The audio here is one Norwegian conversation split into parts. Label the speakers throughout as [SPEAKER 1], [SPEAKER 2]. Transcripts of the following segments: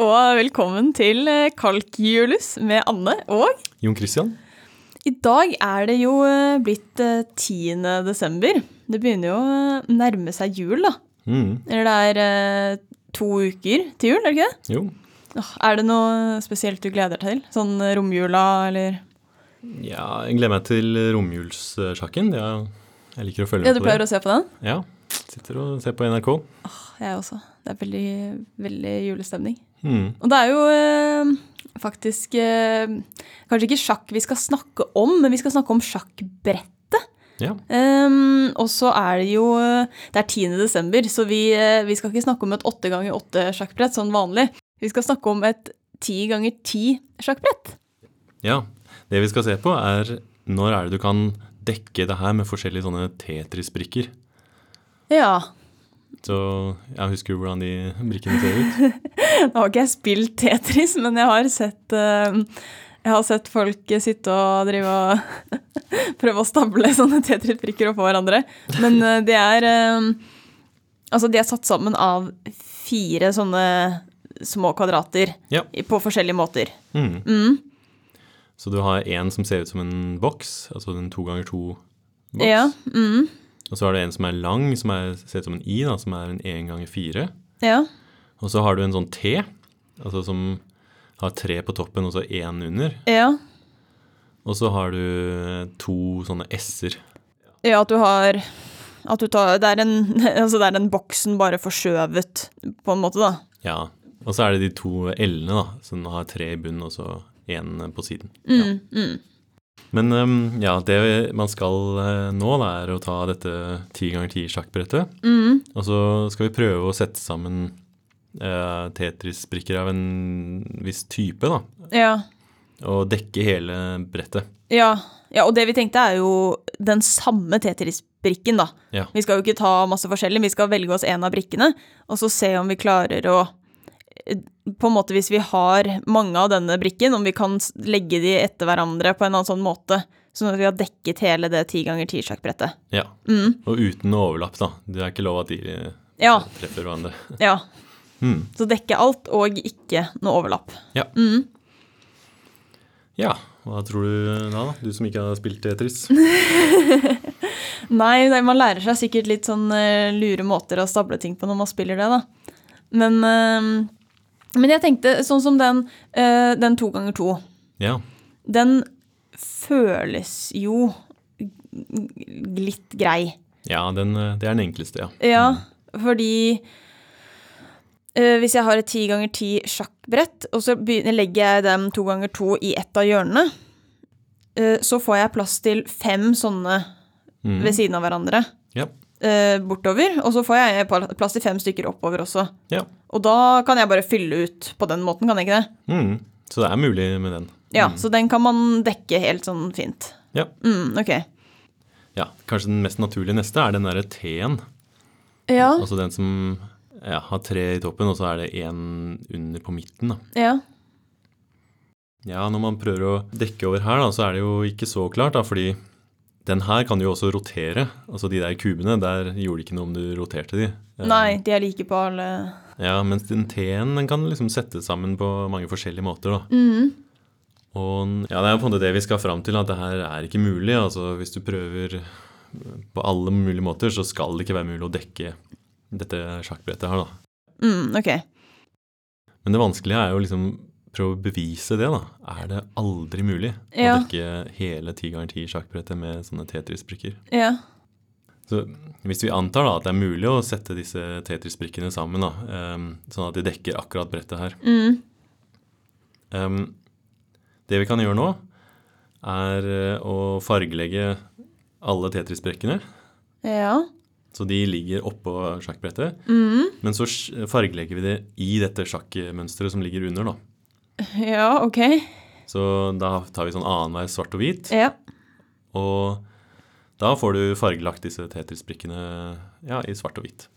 [SPEAKER 1] og velkommen til eh, Kalkjulus med Anne og
[SPEAKER 2] Jon Christian?
[SPEAKER 1] I dag er det jo eh, blitt eh, 10. desember. Det begynner jo å nærme seg jul, da.
[SPEAKER 2] Mm.
[SPEAKER 1] Eller det er eh, to uker til jul, er det ikke det?
[SPEAKER 2] Jo.
[SPEAKER 1] Åh, Er det noe spesielt du gleder deg til? Sånn eh, romjula eller
[SPEAKER 2] Ja, jeg gleder meg til romjulssjakken. Jeg, jeg liker å følge
[SPEAKER 1] Ja,
[SPEAKER 2] med
[SPEAKER 1] du
[SPEAKER 2] på det.
[SPEAKER 1] pleier å se på den?
[SPEAKER 2] Ja, Sitter og ser på NRK.
[SPEAKER 1] Jeg også. Det er veldig, veldig julestemning.
[SPEAKER 2] Mm.
[SPEAKER 1] Og det er jo eh, faktisk eh, kanskje ikke sjakk vi skal snakke om, men vi skal snakke om sjakkbrett.
[SPEAKER 2] Ja.
[SPEAKER 1] Ehm, og så er det jo eh, Det er 10. desember, så vi, eh, vi skal ikke snakke om et 8 ganger 8 sjakkbrett, sånn vanlig. Vi skal snakke om et 10 ganger 10 sjakkbrett.
[SPEAKER 2] ja. Det vi skal se på, er når er det du kan dekke det her med forskjellige sånne Tetris-brikker.
[SPEAKER 1] Ja.
[SPEAKER 2] Så jeg husker jo hvordan de brikkene ser ut.
[SPEAKER 1] Nå har ikke jeg spilt Tetris, men jeg har sett eh, jeg har sett folk sitte og drive og prøve å stable sånne Tetris-prikker oppå hverandre. Men eh, de er eh, Altså, de er satt sammen av fire sånne små kvadrater
[SPEAKER 2] Ja.
[SPEAKER 1] i- på forskjellige måter.
[SPEAKER 2] Mm.
[SPEAKER 1] Mm.
[SPEAKER 2] Så du har en som ser ut som en boks, altså en to ganger to-boks.
[SPEAKER 1] Ja. Mm.
[SPEAKER 2] Og så har du en som er lang, som er, ser ut som en i, da, som er en én ganger fire.
[SPEAKER 1] Ja.
[SPEAKER 2] Og så har du en sånn T, altså som har tre på toppen og så én under.
[SPEAKER 1] Ja.
[SPEAKER 2] Og så har du to sånne S-er.
[SPEAKER 1] ja, at du har At du tar Det er en, altså det er den boksen bare forskjøvet, på en måte, da.
[SPEAKER 2] Ja. Og så er det de to L-ene, da, som har tre i bunnen og så én på siden. Ja.
[SPEAKER 1] Mm, mm.
[SPEAKER 2] Men um, ja, det man skal eh, nå, da, er å ta dette ti ganger ti sjakkbrettet.
[SPEAKER 1] Mm.
[SPEAKER 2] Og så skal vi prøve å sette sammen eh, Tetris-brikker av en viss type, da.
[SPEAKER 1] Ja.
[SPEAKER 2] Og dekke hele brettet.
[SPEAKER 1] Ja. ja, og det vi tenkte er jo den samme Tetris-brikken, da.
[SPEAKER 2] Ja.
[SPEAKER 1] Vi skal jo ikke ta masse forskjellig, vi skal velge oss en av brikkene, og så se om vi klarer å på en måte Hvis vi har mange av denne brikken, om vi kan s- legge de etter hverandre på en annen sånn måte, sånn at vi har dekket hele det ti ganger ti-sjakkbrettet.
[SPEAKER 2] ja.
[SPEAKER 1] Mm.
[SPEAKER 2] Og uten overlapp, da. Det er ikke lov at de eh,
[SPEAKER 1] Ja,
[SPEAKER 2] treffer hverandre.
[SPEAKER 1] ja.
[SPEAKER 2] Mm.
[SPEAKER 1] Så dekke alt, og ikke noe overlapp.
[SPEAKER 2] Ja.
[SPEAKER 1] Mm.
[SPEAKER 2] Ja, hva tror du da, du som ikke har spilt Tetris?
[SPEAKER 1] Nei, nei, man lærer seg sikkert litt sånn eh, lure måter å stable ting på når man spiller det, da. Men, eh, men jeg tenkte, sånn som den, eh, den to ganger to,
[SPEAKER 2] Ja,
[SPEAKER 1] den føles jo g- litt grei.
[SPEAKER 2] ja den, eh, det er den enkleste, ja.
[SPEAKER 1] Ja, fordi eh, hvis jeg har et ti ganger ti sjakkbrett, og så begynner, legger jeg dem to ganger to i ett av hjørnene, eh, så får jeg plass til fem sånne
[SPEAKER 2] Mm.
[SPEAKER 1] ved siden av hverandre.
[SPEAKER 2] Ja.
[SPEAKER 1] eh, bortover, og så får jeg pla- plass til fem stykker oppover også.
[SPEAKER 2] ja.
[SPEAKER 1] Og da kan jeg bare fylle ut på den måten, kan jeg ikke det?
[SPEAKER 2] Mm. Så det er mulig med den.
[SPEAKER 1] Ja, Så den kan man dekke helt sånn fint.
[SPEAKER 2] Ja.
[SPEAKER 1] Mm, ok.
[SPEAKER 2] ja, kanskje den mest naturlige neste er den derre T-en.
[SPEAKER 1] Ja,
[SPEAKER 2] Altså den som ja, har tre i toppen, og så er det én under på midten. Da.
[SPEAKER 1] ja.
[SPEAKER 2] Ja, når man prøver å dekke over her, da, så er det jo ikke så klart, da, fordi den her kan jo også rotere. Altså de der kubene, der gjorde det ikke noe om du roterte de. Eh,
[SPEAKER 1] Nei, de er like på alle
[SPEAKER 2] Ja, mens den T-en den kan liksom settes sammen på mange forskjellige måter, da.
[SPEAKER 1] mm.
[SPEAKER 2] Og ja, det er jo på en måte det vi skal fram til, at det her er ikke mulig. Altså, hvis du prøver på alle mulige måter, så skal det ikke være mulig å dekke dette sjakkbrettet her, da.
[SPEAKER 1] Mm, ok.
[SPEAKER 2] Men det vanskelige er jo liksom prøve å bevise det, da. Er det aldri mulig
[SPEAKER 1] Ja.
[SPEAKER 2] å dekke hele ti ganger ti sjakkbrettet med sånne Tetris-brikker?
[SPEAKER 1] Ja.
[SPEAKER 2] Så hvis vi antar da at det er mulig å sette disse Tetris-brikkene sammen, da, ehm, sånn at de dekker akkurat brettet her,
[SPEAKER 1] Mm.
[SPEAKER 2] Ehm, det vi kan gjøre nå, er eh, å fargelegge alle Tetris-brekkene.
[SPEAKER 1] Ja.
[SPEAKER 2] Så de ligger oppå sjakkbrettet.
[SPEAKER 1] Mm.
[SPEAKER 2] Men så sj- fargelegger vi det i dette sjakkmønsteret som ligger under, da.
[SPEAKER 1] Ja, ok.
[SPEAKER 2] Så da tar vi sånn annenhver svart og hvit.
[SPEAKER 1] Ja.
[SPEAKER 2] Og da får du fargelagt disse Tetris-brikkene ja, i svart og hvit.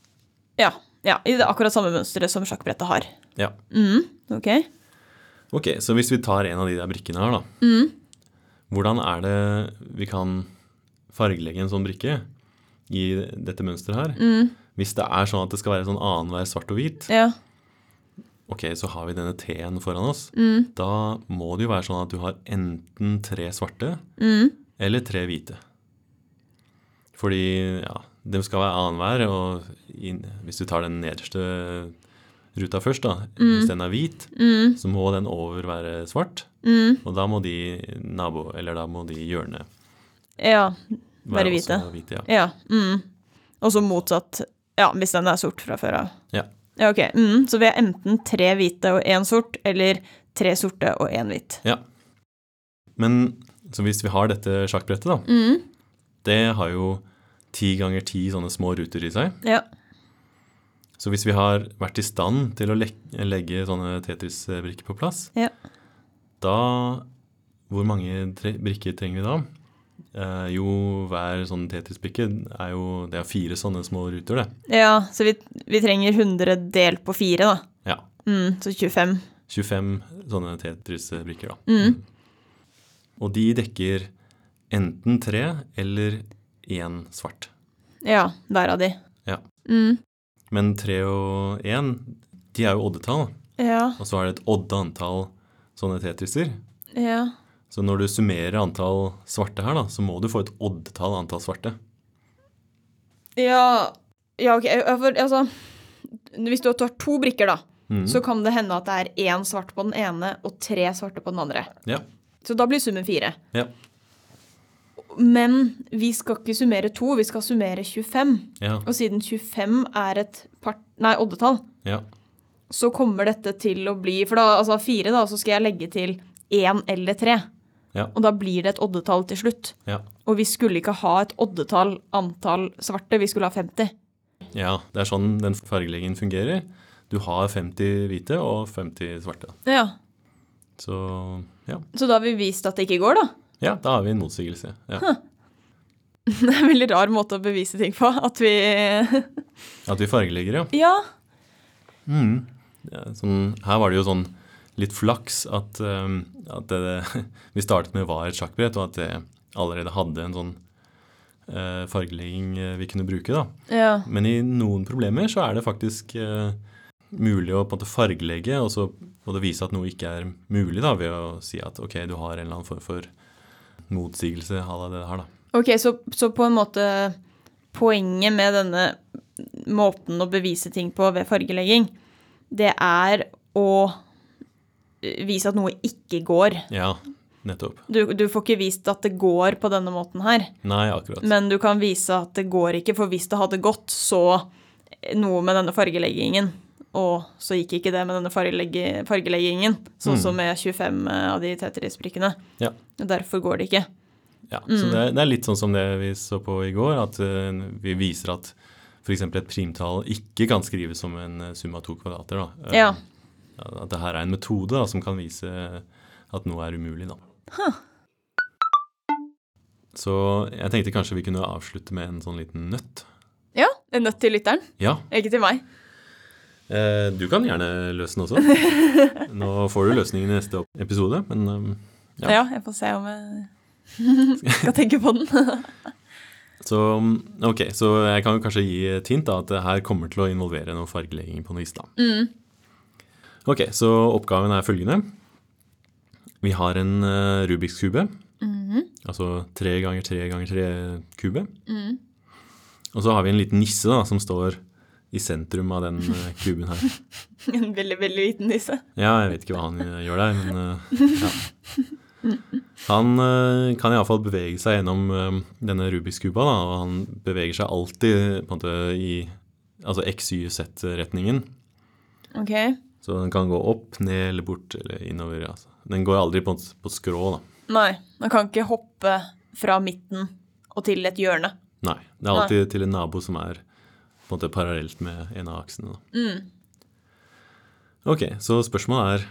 [SPEAKER 1] Ja. ja. I det akkurat samme mønsteret som sjakkbrettet har.
[SPEAKER 2] Ja.
[SPEAKER 1] Mm. Ok.
[SPEAKER 2] Ok, så hvis vi tar en av de der brikkene her, da.
[SPEAKER 1] Mm.
[SPEAKER 2] Hvordan er det vi kan fargelegge en sånn brikke i dette mønsteret her?
[SPEAKER 1] Mm.
[SPEAKER 2] Hvis det er sånn at det skal være sånn annenhver svart og hvit,
[SPEAKER 1] Ja.
[SPEAKER 2] Ok, så har vi denne T-en foran oss.
[SPEAKER 1] Mm.
[SPEAKER 2] Da må det jo være sånn at du har enten tre svarte
[SPEAKER 1] Mm.
[SPEAKER 2] eller tre hvite. Fordi ja, de skal være annenhver, og inn- hvis du tar den nederste ruta først, da, hvis den er hvit,
[SPEAKER 1] Mm.
[SPEAKER 2] så må den over være svart.
[SPEAKER 1] Mm.
[SPEAKER 2] Og da må de nabo, eller da må de hjørne
[SPEAKER 1] Ja.
[SPEAKER 2] være
[SPEAKER 1] Være hvite.
[SPEAKER 2] også hvite ja.
[SPEAKER 1] Ja. Mm. Og så motsatt. Ja, hvis den er sort fra før av.
[SPEAKER 2] Ja.
[SPEAKER 1] Ja, ok. Mm. Så vi har enten tre hvite og én sort, eller tre sorte og én hvit.
[SPEAKER 2] ja. Men så hvis vi har dette sjakkbrettet, da,
[SPEAKER 1] Mm.
[SPEAKER 2] det har jo ti ganger ti sånne små ruter i seg.
[SPEAKER 1] Ja.
[SPEAKER 2] Så hvis vi har vært i stand til å lek- legge sånne Tetris-brikker på plass,
[SPEAKER 1] Ja.
[SPEAKER 2] da Hvor mange tre brikker trenger vi da? Eh, jo, hver sånn Tetris-brikke er jo Det er fire sånne små ruter, det.
[SPEAKER 1] ja så vi, vi trenger 100 delt på fire, da.
[SPEAKER 2] Ja.
[SPEAKER 1] Mm. Så 25.
[SPEAKER 2] 25 sånne Tetris-brikker, da.
[SPEAKER 1] Mm.
[SPEAKER 2] Og de dekker enten tre eller én svart.
[SPEAKER 1] Ja, hver av de.
[SPEAKER 2] Ja.
[SPEAKER 1] Mm.
[SPEAKER 2] Men tre og én, de er jo oddetall.
[SPEAKER 1] Ja.
[SPEAKER 2] Og så er det et odde antall sånne Tetriser.
[SPEAKER 1] Ja.
[SPEAKER 2] Så når du summerer antall svarte her, da, så må du få et oddetall antall svarte.
[SPEAKER 1] Ja, ja ok. jeg- jeg får- Altså, hvis du tar to brikker, da,
[SPEAKER 2] Mhm.
[SPEAKER 1] så kan det hende at det er én svart på den ene og tre svarte på den andre.
[SPEAKER 2] Ja.
[SPEAKER 1] Så da blir summen fire.
[SPEAKER 2] Ja.
[SPEAKER 1] Men vi skal ikke summere to, vi skal summere 25.
[SPEAKER 2] Ja.
[SPEAKER 1] Og siden 25 er et part... Nei, oddetall,
[SPEAKER 2] ja.
[SPEAKER 1] så kommer dette til å bli For da, altså fire, da, så skal jeg legge til én eller tre.
[SPEAKER 2] Ja.
[SPEAKER 1] Og da blir det et oddetall til slutt.
[SPEAKER 2] Ja.
[SPEAKER 1] Og vi skulle ikke ha et oddetall antall svarte, vi skulle ha 50.
[SPEAKER 2] ja. Det er sånn den fargeleggingen fungerer. Du har 50 hvite og 50 svarte.
[SPEAKER 1] Ja,
[SPEAKER 2] Så ja.
[SPEAKER 1] Så da har vi vist at det ikke går, da.
[SPEAKER 2] ja, da har vi en motsigelse. Ja.
[SPEAKER 1] Det er en veldig rar måte å bevise ting på. At vi
[SPEAKER 2] At vi fargelegger, ja.
[SPEAKER 1] Ja.
[SPEAKER 2] Mhm. ja sånn, her var det jo sånn litt flaks at, ehm, at det, vi startet med var et sjakkbrett, og at det allerede hadde en sånn eh, fargelegging eh, vi kunne bruke, da.
[SPEAKER 1] Ja.
[SPEAKER 2] Men i noen problemer så er det faktisk eh, mulig å på en måte fargelegge og så må det vise at noe ikke er mulig, da, ved å si at ok, du har en eller annen form for motsigelse à la det her, da.
[SPEAKER 1] Ok, så, så på en måte Poenget med denne måten å bevise ting på ved fargelegging, det er å vise at noe ikke går.
[SPEAKER 2] Ja, nettopp.
[SPEAKER 1] Du, du får ikke vist at det går på denne måten her,
[SPEAKER 2] Nei, akkurat.
[SPEAKER 1] men du kan vise at det går ikke, for hvis det hadde gått, så noe med denne fargeleggingen. Og så gikk ikke det med denne fargelegge, fargeleggingen, sånn som med 25 av de Tetris-brikkene.
[SPEAKER 2] Ja.
[SPEAKER 1] Og Derfor går det ikke.
[SPEAKER 2] Ja, så
[SPEAKER 1] Mm.
[SPEAKER 2] det er, det er litt sånn som det vi så på i går, at eh, vi viser at f.eks. et primtall ikke kan skrives som en eh, sum av to kvadrater. Da. Eh,
[SPEAKER 1] Ja.
[SPEAKER 2] At det her er en metode da, som kan vise at noe er umulig, da. Så jeg tenkte kanskje vi kunne avslutte med en sånn liten nøtt.
[SPEAKER 1] Ja, en nøtt til lytteren,
[SPEAKER 2] Ja,
[SPEAKER 1] ikke til meg.
[SPEAKER 2] eh, du kan gjerne løse den også. Nå får du løsningen i neste opp- episode, men eh, Ja.
[SPEAKER 1] Ja. jeg får se om jeg skal tenke på den.
[SPEAKER 2] Så ok, så jeg kan jo kanskje gi et hint da, at det her kommer til å involvere noe fargelegging på noe vis. da. Ok, så oppgaven er følgende. Vi har en eh, Rubiks kube, altså tre ganger tre ganger tre kube. Og så har vi en liten nisse da, som står i sentrum av den eh, kuben her.
[SPEAKER 1] En veldig, veldig liten nisse.
[SPEAKER 2] Ja, jeg vet ikke hva han eh, gjør der, men eh, ja. Han eh, kan iallfall bevege seg gjennom eh, denne Rubiks kuba, da, og han beveger seg alltid på en måte i altså x, y, z-retningen.
[SPEAKER 1] Ok.
[SPEAKER 2] Så den kan gå opp, ned eller bort eller innover. Altså. Den går aldri på, en måte på skrå, da.
[SPEAKER 1] Nei, man kan ikke hoppe fra midten og til et hjørne.
[SPEAKER 2] Nei. Det er alltid til en nabo som er på en måte parallelt med en av aksene. Da. Ok, så spørsmålet er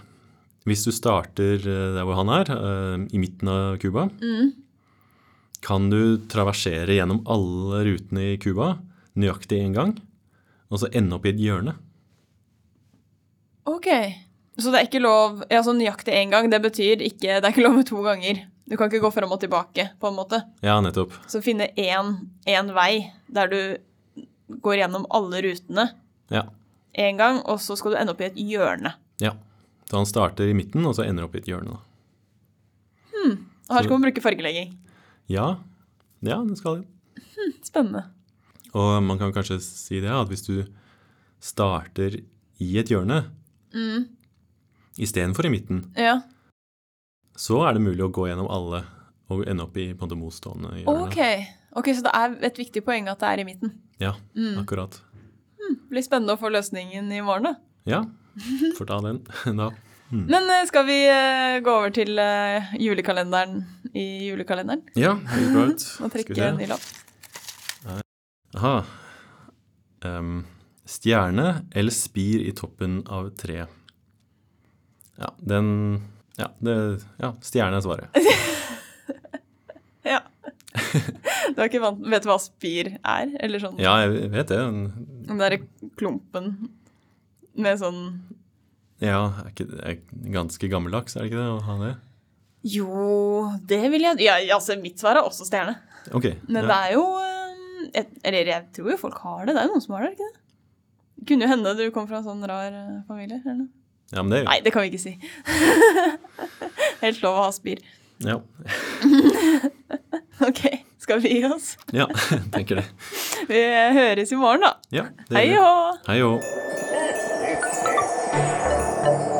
[SPEAKER 2] Hvis du starter eh, der hvor han er, eh, i midten av Cuba, kan du traversere gjennom alle rutene i Cuba nøyaktig én gang, og så ende opp i et hjørne?
[SPEAKER 1] Ok. Så det er ikke lov ja, så nøyaktig én gang. Det betyr ikke Det er ikke lov med to ganger. Du kan ikke gå fram og tilbake, på en måte.
[SPEAKER 2] Ja, nettopp.
[SPEAKER 1] Så finne én, én vei der du går gjennom alle rutene
[SPEAKER 2] Ja,
[SPEAKER 1] én gang, og så skal du ende opp i et hjørne.
[SPEAKER 2] Ja. Så han starter i midten, og så ender opp i et hjørne. da.
[SPEAKER 1] Og her skal man bruke fargelegging.
[SPEAKER 2] Ja, ja, det skal det.
[SPEAKER 1] Spennende.
[SPEAKER 2] Og man kan kanskje si det, at hvis du starter i et hjørne
[SPEAKER 1] Mm.
[SPEAKER 2] istedenfor i midten,
[SPEAKER 1] Ja.
[SPEAKER 2] så er det mulig å gå gjennom alle og ende opp i på en måte motstående hjørne.
[SPEAKER 1] Ok. ok, så det er et viktig poeng at det er i midten.
[SPEAKER 2] Ja,
[SPEAKER 1] Mm.
[SPEAKER 2] akkurat.
[SPEAKER 1] Blir spennende å få løsningen i morgen, da.
[SPEAKER 2] Ja, får ta den da.
[SPEAKER 1] Men eh, skal vi eh, gå over til eh, julekalenderen i julekalenderen?
[SPEAKER 2] Ja, høres bra ut.
[SPEAKER 1] Og
[SPEAKER 2] Skal vi
[SPEAKER 1] trekke
[SPEAKER 2] se.
[SPEAKER 1] en ny lapp?
[SPEAKER 2] Aha. Ehm, stjerne eller spir i toppen av et tre? Ja, den Ja, det, ja stjerne er svaret.
[SPEAKER 1] Ja. Du er ikke vant Vet du hva spir er? Eller sånn
[SPEAKER 2] Ja, jeg vet det. men-
[SPEAKER 1] den derre klumpen med sånn
[SPEAKER 2] Ja, er ikke er ganske gammeldags, er det ikke det? Å ha det?
[SPEAKER 1] Jo, det vil jeg Ja, altså, mitt svar er også stjerne.
[SPEAKER 2] Ok.
[SPEAKER 1] Men det
[SPEAKER 2] Ja.
[SPEAKER 1] er jo eh, et, Eller jeg tror jo folk har det. Det er jo noen som har det, er det ikke det? Kunne jo hende du kom fra en sånn rar eh, familie. eller noe.
[SPEAKER 2] ja, men det
[SPEAKER 1] Nei, det kan vi ikke si. Helt lov å ha spir.
[SPEAKER 2] Ja,
[SPEAKER 1] Ok, skal vi gi oss?
[SPEAKER 2] ja tenker det.
[SPEAKER 1] Vi høres i morgen, da.
[SPEAKER 2] Ja, det
[SPEAKER 1] Hei
[SPEAKER 2] gjør vi.
[SPEAKER 1] og hå!
[SPEAKER 2] Hei og